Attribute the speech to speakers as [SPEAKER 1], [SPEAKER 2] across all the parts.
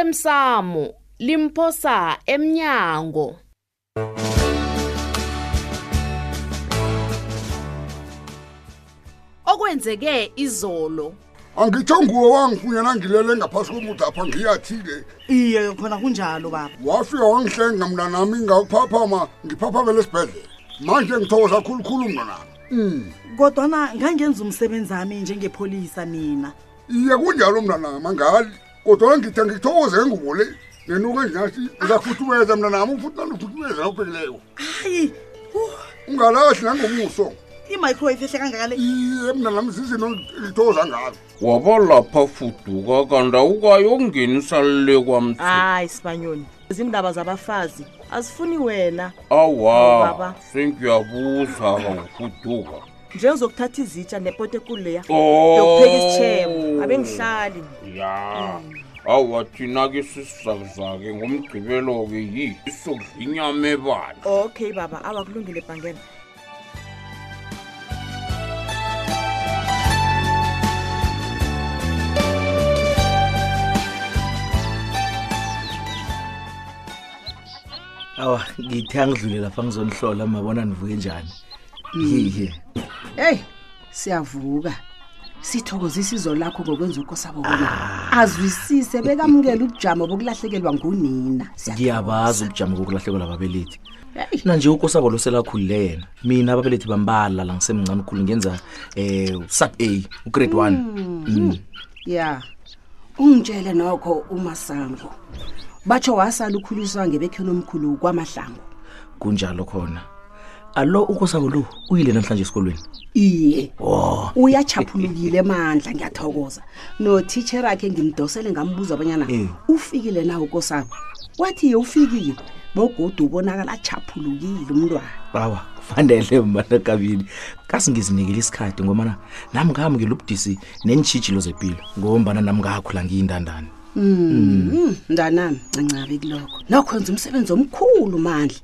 [SPEAKER 1] osemsamo limphosa emnyango okwenzeke izolo
[SPEAKER 2] angitsho nguwe wangifunyana ngilele ngaphasi komuda apha ngiyathi-ke
[SPEAKER 3] iye khona kunjalo baba
[SPEAKER 2] wafika wangihlenga mna nami ngakuphaphama ngiphaphamele esibhedlela manje ngithokoza khulukhulu mna nami
[SPEAKER 3] Hmm. kodwana ngangenza umsebenzi ami njengepholisa mina
[SPEAKER 2] iye kunjalo mna nami angali kodwana ngithe ngithokoze ngubo le nenuka enjinathi uzafuthumeza mna nami futhi nanufuthumeza nakubhekileko
[SPEAKER 3] hayi uh,
[SPEAKER 2] ungalahli nangomuso
[SPEAKER 3] i-microwave ehle kangakale
[SPEAKER 2] iye mna nami zizinto ngithokoza ngazo
[SPEAKER 4] waba lapha fuduka kanti awukayongenisa le kwamthu
[SPEAKER 5] hayi sibanyoni izindaba zabafazi azifuni wena
[SPEAKER 4] awa
[SPEAKER 5] Baba.
[SPEAKER 4] sengiyabuza kawufuduka
[SPEAKER 5] njengezokuthatha izitsha nepoto ekuleya
[SPEAKER 4] Oh.
[SPEAKER 5] yokupheka isitshebo abengihlali
[SPEAKER 4] ya
[SPEAKER 5] Mm.
[SPEAKER 4] awa thina-ke sisizakuzake ngomgqibelo-ke yiso dlinyama ebandla
[SPEAKER 5] okay baba awakulungile bhangela
[SPEAKER 6] awa ngithe angidlule lapha ngizonihlola mabona nivuke njani yiye
[SPEAKER 7] heyi siyavuka sithokozisa izo lakho ngokwenza ukosabo azwisise bekamukela ubujamo bokulahlekelwa ngunina
[SPEAKER 6] ngiyabazi ubujamo bokulahlekelwa ababelethi nanje ukosabo loselakhulile yena mina ababelethi bambala la ngisemncane ukhulu ngenza um sub a ugrade one Mm.
[SPEAKER 7] Hmm, ya ungitshele nokho umasango batsho wasala ukhuliswa ngebekhela omkhulu kwamahlango
[SPEAKER 6] kunjalo khona alo ukosabo lo uyile namhlanje esikolweni
[SPEAKER 7] iye
[SPEAKER 6] o
[SPEAKER 7] uyachaphulukile mandla ngiyathokoza notitshere akhe ngimdosele ngambuza abanyana
[SPEAKER 6] Eh.
[SPEAKER 7] ufikile na ukosabo wathi ye ufikile bogoda ubonakala achaphulukile umntwana
[SPEAKER 6] awa kufanele mbana kabili kasingizinikele isikhathi ngomana nami ngamukela ubudisi neentshijilo zempilo ngombana nami ngakhula ngiyintandane
[SPEAKER 7] Mm, mntanami ncancabe kulokho nokho wenza umsebenzi omkhulu mandla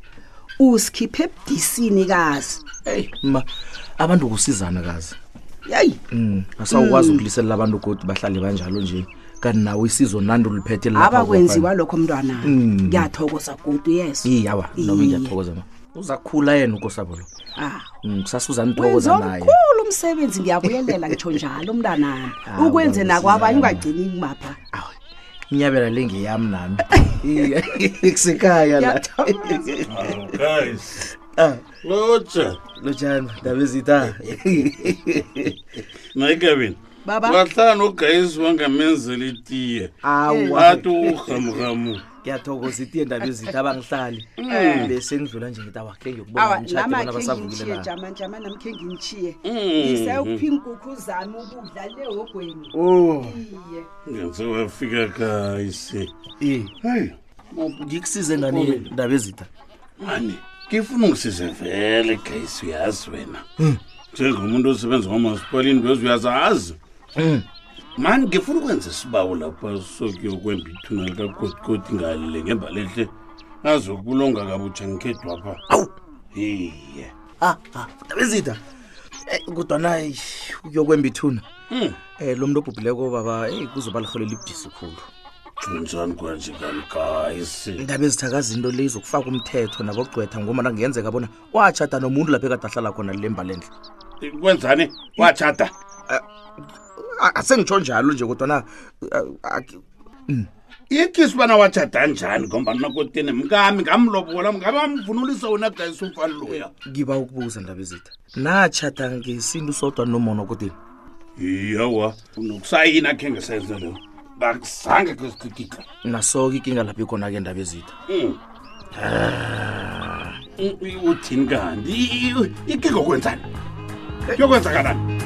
[SPEAKER 7] usikhiphe ebudisini kazi
[SPEAKER 6] eyi ma abantu kusizana kazi
[SPEAKER 7] yeyi
[SPEAKER 6] um
[SPEAKER 7] Mm.
[SPEAKER 6] asawukwazi ukuliselela abantu kodwa bahlale banjalo nje kanti nawe isizo nandi uliphethe lapha
[SPEAKER 7] abakwenziwa
[SPEAKER 6] kwafana.
[SPEAKER 7] lokho mntwana
[SPEAKER 6] Mm.
[SPEAKER 7] ngiyathokoza kudu yeso
[SPEAKER 6] Iye, awa noma
[SPEAKER 7] Iye.
[SPEAKER 6] ngiyathokoza ma uzakhukhula yena ukosabo lo
[SPEAKER 7] Ah,
[SPEAKER 6] Mm, kusasa
[SPEAKER 7] wenze
[SPEAKER 6] uzanithokoza naye
[SPEAKER 7] omkhulu umsebenzi ngiyabuyelela ngitsho njalo mntanami
[SPEAKER 6] Ah,
[SPEAKER 7] ukwenze
[SPEAKER 6] ubabusizana.
[SPEAKER 7] nakwabanye ungagcini kumapha
[SPEAKER 6] awa inyabela le ngeyami nami Iye, kusekhaya la
[SPEAKER 8] guys
[SPEAKER 6] Ah,
[SPEAKER 8] lotsha
[SPEAKER 6] lotshani ndaba ezitha
[SPEAKER 8] nayikabini
[SPEAKER 7] baba
[SPEAKER 8] wahlala nogayisi wangamenzela itiye
[SPEAKER 6] awa
[SPEAKER 8] athi urhamurhamu
[SPEAKER 6] ngiyathokoza itiye ndaba ezitha abangihlali
[SPEAKER 8] Eh.
[SPEAKER 6] bese ngidlula nje ngithi awakhe ngiyokubona
[SPEAKER 7] awa
[SPEAKER 6] umshade
[SPEAKER 7] nama
[SPEAKER 6] bona
[SPEAKER 7] khe
[SPEAKER 6] basavukile Mm-hmm.
[SPEAKER 7] ngintshiye
[SPEAKER 6] na
[SPEAKER 7] jamanjama nami khe ngintshiye ngisayokuphi iinkukhu zami ukudla lehogweni
[SPEAKER 6] o
[SPEAKER 7] iye
[SPEAKER 8] ngenze wafika kayise
[SPEAKER 6] e
[SPEAKER 8] heyi
[SPEAKER 6] ngikusize ngani ndaba ezitha
[SPEAKER 8] mani ngifuna ungisize vele gayisi uyazi wena
[SPEAKER 9] Mm.
[SPEAKER 8] njengomuntu osebenza kwamasipalini beze uyazazi
[SPEAKER 9] Mm.
[SPEAKER 8] mani ngifuna ukwenza isibawo lapha sokuyokwemba ithuna likagodigodi ngalile ngembalehle azokulonga kabutsha ngikhedwapha
[SPEAKER 6] awu
[SPEAKER 8] iye
[SPEAKER 6] ah ah ndaba Eh, ezitha kodwana eish, ukuyokwemba ithuna
[SPEAKER 8] Mm.
[SPEAKER 6] um lo mntu obhubhileko baba eyi kuzoba liholela ibudisi khulu
[SPEAKER 8] kunjani kwanje kanikayisi
[SPEAKER 6] indaba ezithakazi into le izokufaka umthetho nabogqwetha ngomana kungenzeka bona watshata nomuntu lapho ekade ahlala khona le mbalendle
[SPEAKER 8] kwenzani watshata
[SPEAKER 6] A- asengitsho njalo nje kodwana uh, ak-
[SPEAKER 8] ikisi ubana watshata njani ngombani nakotini mkami ngamlobola mngame amvunulisa wena gayisi umfana loya
[SPEAKER 6] ngiba ukubuza ndaba ezitha natshata ngesintu sodwa nomona kodini
[SPEAKER 8] iyawa nokusayini akhe ngesenze leyo ngakuzange kesikhikika
[SPEAKER 6] naso-ke ikinga lapho ikhona-ke ndaba ezitha
[SPEAKER 8] Hmm.
[SPEAKER 3] Ah.
[SPEAKER 8] uthini kanti I- i- ikiko kwenzani yokwenzakalani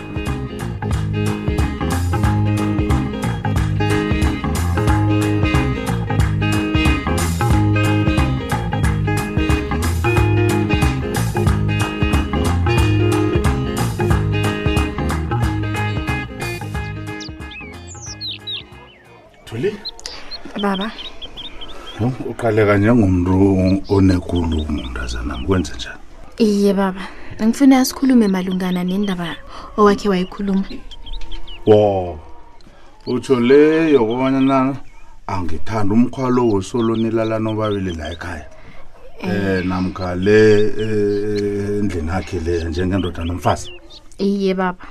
[SPEAKER 10] thuli
[SPEAKER 11] baba
[SPEAKER 10] yho, uqaleka njengomntu onekulumo mntazana kwenze njani
[SPEAKER 11] iye baba ngifuna asikhulume malungana nendaba owakhe wayikhuluma
[SPEAKER 10] wo utsho le yokobanyana angithanda umkhwalo wosolo nilalana obabili la ekhaya eh namkha le eh, endlini yakhe le njengendoda nomfazi
[SPEAKER 11] iye baba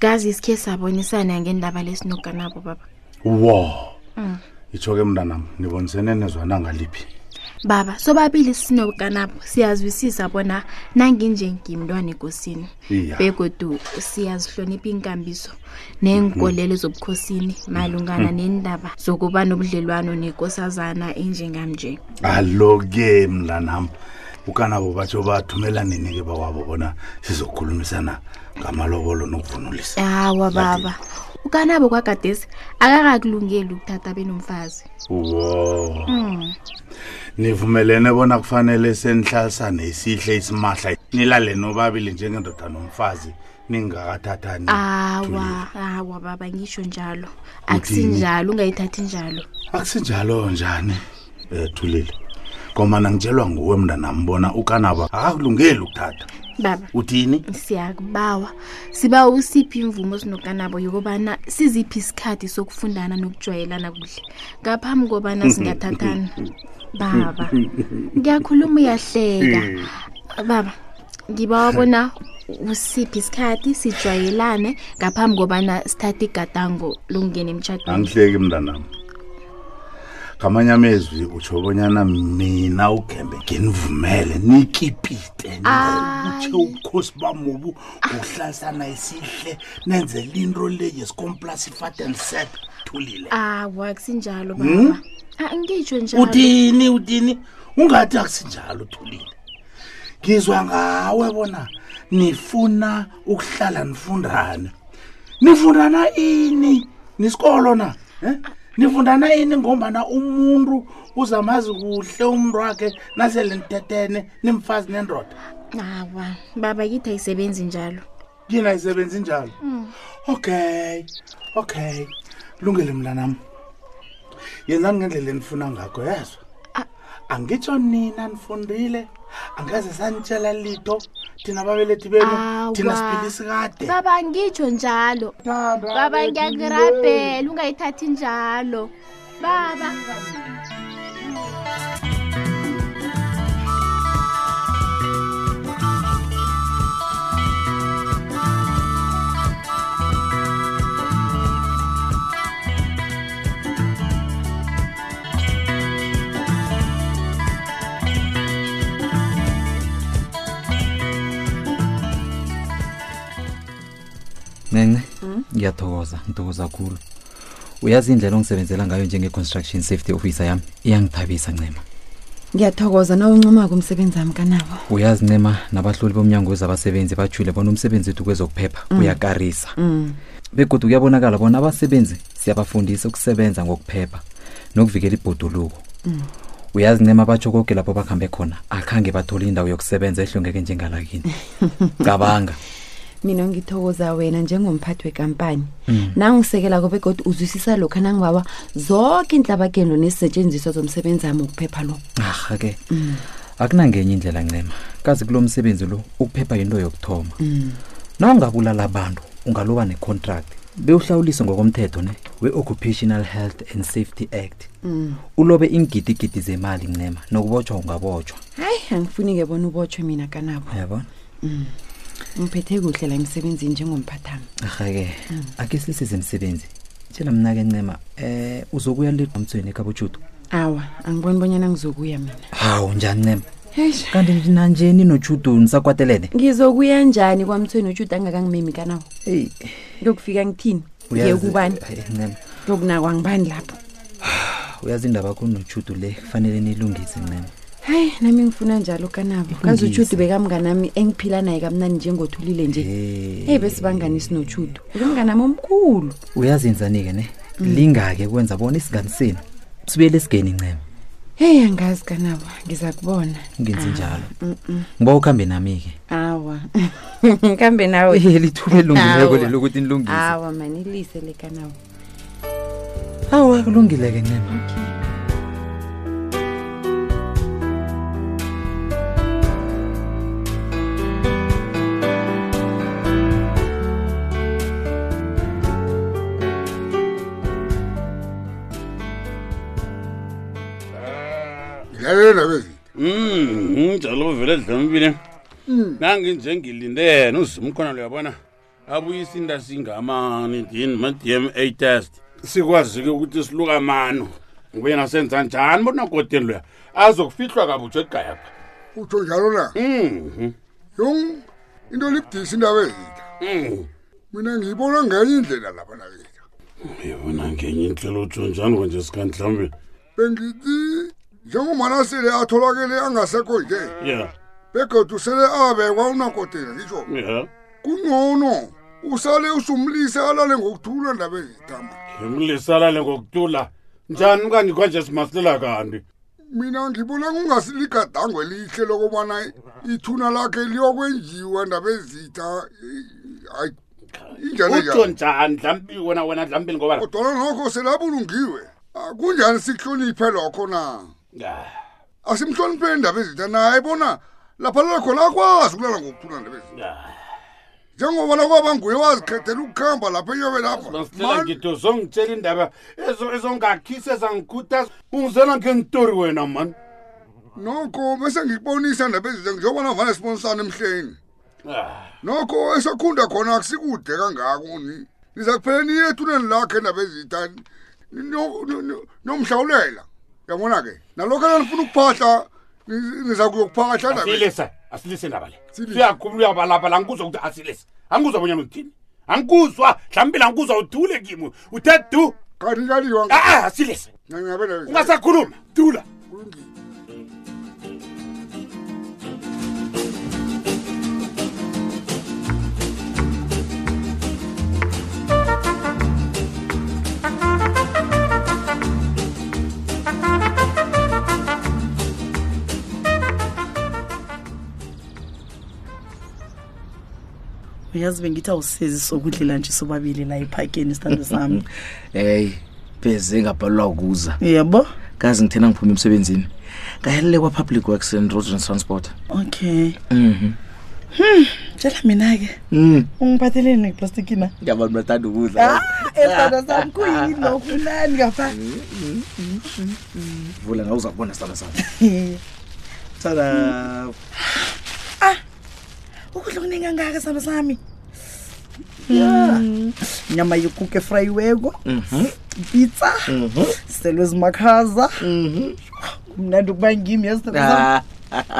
[SPEAKER 11] gazi isikhe sabonisana ngendaba lesinuka nabo baba
[SPEAKER 10] wo
[SPEAKER 11] Mm.
[SPEAKER 10] itsho ke mntanam nibonisene nezwana ngaliphi
[SPEAKER 11] baba sobabili sinuka nabo siyazwisisa bona nanginje ngimntwana ekosini
[SPEAKER 10] iya
[SPEAKER 11] begodu siyazihlonipha iinkambiso neenkolelo zobukhosini malungana
[SPEAKER 10] Mhm.
[SPEAKER 11] neendaba zokuba nobudlelwano nekosazana enjengamnje
[SPEAKER 10] alo-ke mntanam ukanabo batsho bathumelanini ke bakwabo bona sizokhulumisana ngamalobolo nokuvunulisa
[SPEAKER 11] hawa baba ukanabo kwagadesi akakakulungeli ukuthatha benomfazi
[SPEAKER 10] wo
[SPEAKER 11] mm.
[SPEAKER 10] nivumelene bona kufanele senihlalisane isihle isimahla nilale nobabili njengendoda nomfazi ningakathathani
[SPEAKER 11] awa awa baba ngisho
[SPEAKER 10] Uthini?
[SPEAKER 11] njalo akusinjalo ungayithathi njalo
[SPEAKER 10] akusinjalo njani um thulile ngomana ngitshelwa nguwe mntanam bona ukanabo akakulungeli ukuthatha
[SPEAKER 11] baba
[SPEAKER 10] uthini
[SPEAKER 11] siyakubawa siba usiphi imvumo sinokanabo yokobana siziphi isikhathi sokufundana nokujwayelana kuhle ngaphambi kobana singathathana baba ngiyakhuluma uyahleka baba ngibawa bona usiphi isikhathi sijwayelane ngaphambi kobana sithathe igadango lokungena emtshadweni
[SPEAKER 10] angihleki mntanam ngamanye amezwi utsho bonyana mina ugembe nginivumele nikipite
[SPEAKER 11] Ah,
[SPEAKER 10] nitshe ubukhosi bamubu ngokuhlalisana isihle nenze linto le yesikomplasi fat and set thulile
[SPEAKER 11] awa kusinjalo
[SPEAKER 10] Hmm?
[SPEAKER 11] Ah, baba Ah, angitsho njalo
[SPEAKER 10] uthini uthini ungathi akusinjalo thulile ngizwa ngawe bona nifuna ukuhlala nifundane nifundana ini nisikolo na eh? nifundana ini ngombana umuntu uzamazi kuhle umntu wakhe nasele nitetene nimfazi nendoda
[SPEAKER 11] awa baba kithi ayisebenzi njalo
[SPEAKER 10] yini ayisebenzi njalo okay okay lungele mntanam yenzani ngendlela enifuna ngakho yezwa angitsho nina nifundile angeze sanitshela litho thina babelethi benu thina siphilisi kade
[SPEAKER 11] Eh. baba angitsho njalo baba ngiyakurabhela ungayithathi njalo baba
[SPEAKER 9] nene
[SPEAKER 5] Mm.
[SPEAKER 9] ngiyathokoza ngithokoza kakhulu uyazi indlela ongisebenzela ngayo njenge-construction safety officer yami iyangithabisa ncema
[SPEAKER 12] ngiyathokoza na uncomako umsebenzi wami kanabo
[SPEAKER 9] uyazi ncema nabahloli bomnyango wezabasebenzi bajule bona umsebenzi wethu kwezokuphepha
[SPEAKER 12] Mm.
[SPEAKER 9] uyakarisa
[SPEAKER 12] Mm.
[SPEAKER 9] begodwa kuyabonakala bona abasebenzi siyabafundisa ukusebenza ngokuphepha nokuvikela ibhoduluko
[SPEAKER 12] Mm.
[SPEAKER 9] uyazi ncema batsho koke lapho bakuhambe khona akhange bathole indawo yokusebenza ehlongeke njengalakini cabanga
[SPEAKER 12] mina ngithokoza wena njengomphathi wekampani
[SPEAKER 9] Mm.
[SPEAKER 12] nangisekelako begodwa uzwisisa lokhu nangibawa zonke inhlabakelo nesisetshenziswa zomsebenzi wami wokuphepha lo
[SPEAKER 9] arha-ke akunangenye indlela ncema kazi kulo msebenzi lo ukuphepha yinto yokuthoma
[SPEAKER 12] Mm.
[SPEAKER 9] nawungabulala abantu ungaloba necontract bewuhlawuliswe ngokomthetho ne we-occupational health and safety act
[SPEAKER 12] Mm.
[SPEAKER 9] ulobe iingidigidi zemali ncema nokubotshwa ungabotshwa
[SPEAKER 12] hayi angifuni-ke bona ubotshwe mina kanabo
[SPEAKER 9] yabona
[SPEAKER 12] Mm. ngiphethe kuhle la emsebenzini njengomphathami
[SPEAKER 9] arha-ke
[SPEAKER 12] Mm.
[SPEAKER 9] ake sisize emsebenzi tshela mna-ke ncema um uzokuya ledamtsweni ekhabojudo
[SPEAKER 12] awa angiboni bonyana ngizokuya mina
[SPEAKER 9] hawu njani ncema
[SPEAKER 12] Eish.
[SPEAKER 9] kanti nanje ninojudo nisakwatelene
[SPEAKER 12] ngizokuya njani kwamthweni utshuda angakangimemi kanawo ngiyokufika ngithini
[SPEAKER 9] Uyazi- eh,
[SPEAKER 12] ngiyekubani
[SPEAKER 9] Hayi, ncema
[SPEAKER 12] yokunakwa ngibani lapho
[SPEAKER 9] uyazi indaba kunojudo le kufanele nilungise ncema
[SPEAKER 12] hayi nami ngifuna njalo kanabo kaze utshudu bekamnganami engiphila naye kamnani njengothulile nje eyi besibangani sinotshudu bekamnganami omkhulu
[SPEAKER 9] uyazenzani-ke ne
[SPEAKER 12] Mm.
[SPEAKER 9] linga-ke kwenza bona isigani senu sibuyele esigeni ncema
[SPEAKER 12] heyi angazi kanabo ngiza kubona
[SPEAKER 9] ungenzi njalo
[SPEAKER 12] Mm, mm.
[SPEAKER 9] ngiba ukuhambe nami-ke
[SPEAKER 12] awa kambe nawe
[SPEAKER 9] Eh, lithuba elungileko
[SPEAKER 12] Awa.
[SPEAKER 9] lelo ukuthi nilungise.
[SPEAKER 12] awa mani ilise lekanabo
[SPEAKER 9] awa kulungile-ke ncema
[SPEAKER 2] lalela bezi
[SPEAKER 8] Mm, njalo vele dlambile. Nangi njengilindene uzimkhona lo yabona. Abuyisa indasingamani dini ma DMA test. Sikwazi ke ukuthi siluka mano. Ngoba yena senza njani bona kodeni lo. Azokufihlwa kabutsho egaya.
[SPEAKER 2] utsho njalo na
[SPEAKER 8] Mhm.
[SPEAKER 2] yung into libudisi indaba ezitha
[SPEAKER 8] Mhm.
[SPEAKER 2] mina ngiyibona ngenye indlela lapha naketha
[SPEAKER 8] Uyibona ngenye inhlelo utsho njani konje sikhandlambile.
[SPEAKER 2] bengithi njengomana sele atholakele angasekho nje
[SPEAKER 8] Yeah.
[SPEAKER 2] begoda usele abekwa unakotela ngisho
[SPEAKER 8] Yeah.
[SPEAKER 2] kungcono usale usumlise alale ngokuthula ndaba ezithamba
[SPEAKER 8] Ngimlisalale ngokutula. Njani kanti konje simasilela kanti.
[SPEAKER 2] mina ngibona kungasiligadango elihle lokubana ithuna lakhe liyokwenjiwa ndaba ezitha hayi injalo
[SPEAKER 8] Utsho njani dlambile wona wena dlambile ngoba.
[SPEAKER 2] kodwana nokho selabulungiwe Ah, kunjani sihloniphe lokho na asimhlonipheni indaba ezitha naye bona lapha lalakhona akwazi ukulala ngokuthula ndaba ezitha njengoba nakwaba nguye wazikhethela ukukhamba lapha enyobe lapha
[SPEAKER 8] Lela ngito zongitshela indaba ezo ezongakhisa ezangikhuthaza ungizela ngengitori wena man
[SPEAKER 2] nokho bese ngikubonisa ndaba ezitha njengoba navane sibonisana emhleni
[SPEAKER 8] Ah,
[SPEAKER 2] nokho esakhunda khona akusikude kangako ni niza kuphela niye ethuneni lakhe nabezitha no- no- no- nomhlawulela yabona-ke nalokho nanifuna ukuphahla ni- niza kuyokuphahla ndabeni.
[SPEAKER 8] asilisa asilisa indaba le siyakhuluma uyabalapha la ngikuzwa ukuthi asilisa angikuzwa bonyana uthini angikuzwa mhlawumbe la ngikuzwa uthule kimi uthe du
[SPEAKER 2] kanti kaliwa
[SPEAKER 8] a asilisa ungasakhuluma thula
[SPEAKER 3] uyazi bengithi awusezi sokudlela nje sobabili la ephakeni isithando sami
[SPEAKER 6] hey beze ngabhalelwa ukuza
[SPEAKER 3] yebo
[SPEAKER 6] kazi ngithena ngiphume emsebenzini ngayelele kwa-public works and roads and transport
[SPEAKER 3] okay
[SPEAKER 6] Mhm.
[SPEAKER 3] hmm tshela mina-ke Mm. ungiphatheleni ngeplastikina
[SPEAKER 6] abantu bathanda ukudla
[SPEAKER 3] esithando Ah, sami kuyini lokhu nani ngapha
[SPEAKER 6] Hmm. vula nawe uza kubona sitana sami
[SPEAKER 3] tada ukudla okuningangaka sihamba sami ya nyama yekuku efrayiweko
[SPEAKER 6] Mhm.
[SPEAKER 3] pizza selo ezimakhaza mnandi ukuba ngimi
[SPEAKER 6] Ah.
[SPEAKER 3] yasithandazam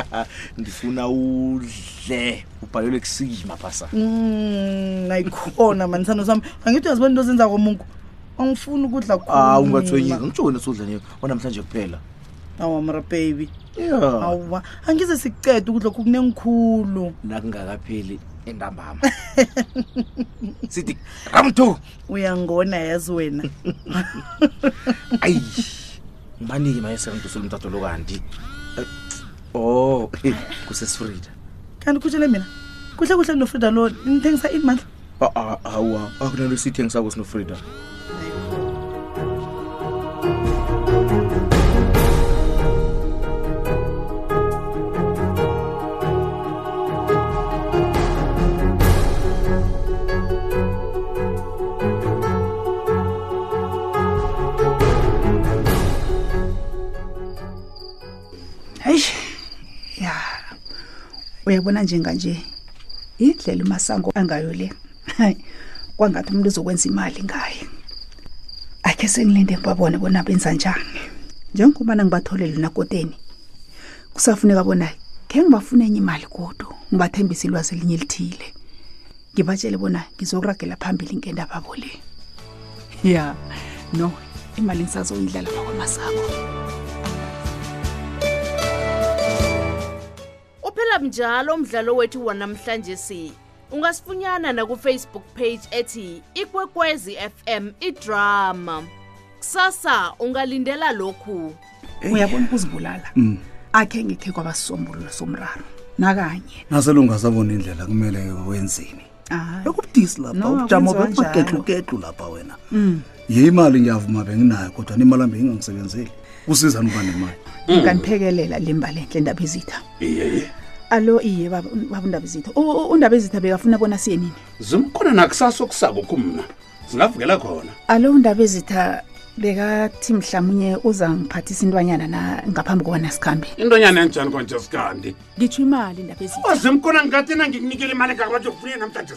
[SPEAKER 6] ndifuna udle ubhalelwe kusikima phasa
[SPEAKER 3] ayikhona Mm, mani sithando sami angithi uyazibona into zenzako mungu angifuni ukudla
[SPEAKER 6] aw ungathwenyeki Ah, ngitsho wena sudla niyo wanamhlanje kuphela
[SPEAKER 3] awamra baby
[SPEAKER 6] Yeah.
[SPEAKER 3] awa angize sikuceda ukudla lokhu kunengikhulu
[SPEAKER 6] nakungakapheli entambama
[SPEAKER 3] sithi
[SPEAKER 6] ramtu
[SPEAKER 3] uyangona yazi wena
[SPEAKER 6] ayi ngibaniki mayeserantusula umtato lo kanti Eh, oh eh, kusesifrida
[SPEAKER 3] kanti kutshele mina kuhle kuhle nofrida lo nithengisa ini mandla
[SPEAKER 6] Ah, ah, awa akunanto esiyithengisako sinofrida
[SPEAKER 13] hayi ya uyabona njenganje indlela umasango angayo le Hayi, kwangathi umuntu uzokwenza imali ngaye akhe sengilinde ngibabone bona benza njani njengoba nangibatholele nakoteni kusafuneka bona khe ngibafune enye imali kodwa ngibathembise ilwazi elinye elithile ngibatshele bona ngizokuragela phambili ngendaba bo le ya no imali ngisazoyidla lapha kwamasango
[SPEAKER 1] uphela mnjalo umdlalo wethu wanamhlanje si ungasifunyana nakufacebook page ethi ikwekwezi fm idrama kusasa ungalindela lokhu
[SPEAKER 13] uyabona ukuzibulala
[SPEAKER 14] Hmm.
[SPEAKER 13] akhe ngikhe kwaba sisombululo somraro nakanye
[SPEAKER 14] naselungasabona indlela kumele wenzeni
[SPEAKER 13] Ah, bekubudisi
[SPEAKER 14] lapha ubujamo bekubaketluketu lapha wena
[SPEAKER 13] mm.
[SPEAKER 14] yimali ngiyavuma benginayo kodwa nimali ambe ingangisebenzeli kusizani ukuba nemali
[SPEAKER 13] Mm. ngangiphekelela lemba lenhle ndaba ezitha alo iye baba baba undaba ezitha U- u- undaba ezitha bekafuna bona siye nini
[SPEAKER 8] zimkhona nakusasa okusako kumna singavukela khona
[SPEAKER 13] alo undaba ezitha bekathi mhlawumnye uza ngiphathisa intwanyana na ngaphambi kobana sikhambe
[SPEAKER 8] intonyana enjani konje sikandi
[SPEAKER 13] ngitsho imali ndaba ezinye
[SPEAKER 8] ozimkona ngathina ngikunikela imali engaka bathi ukufunye namhlanje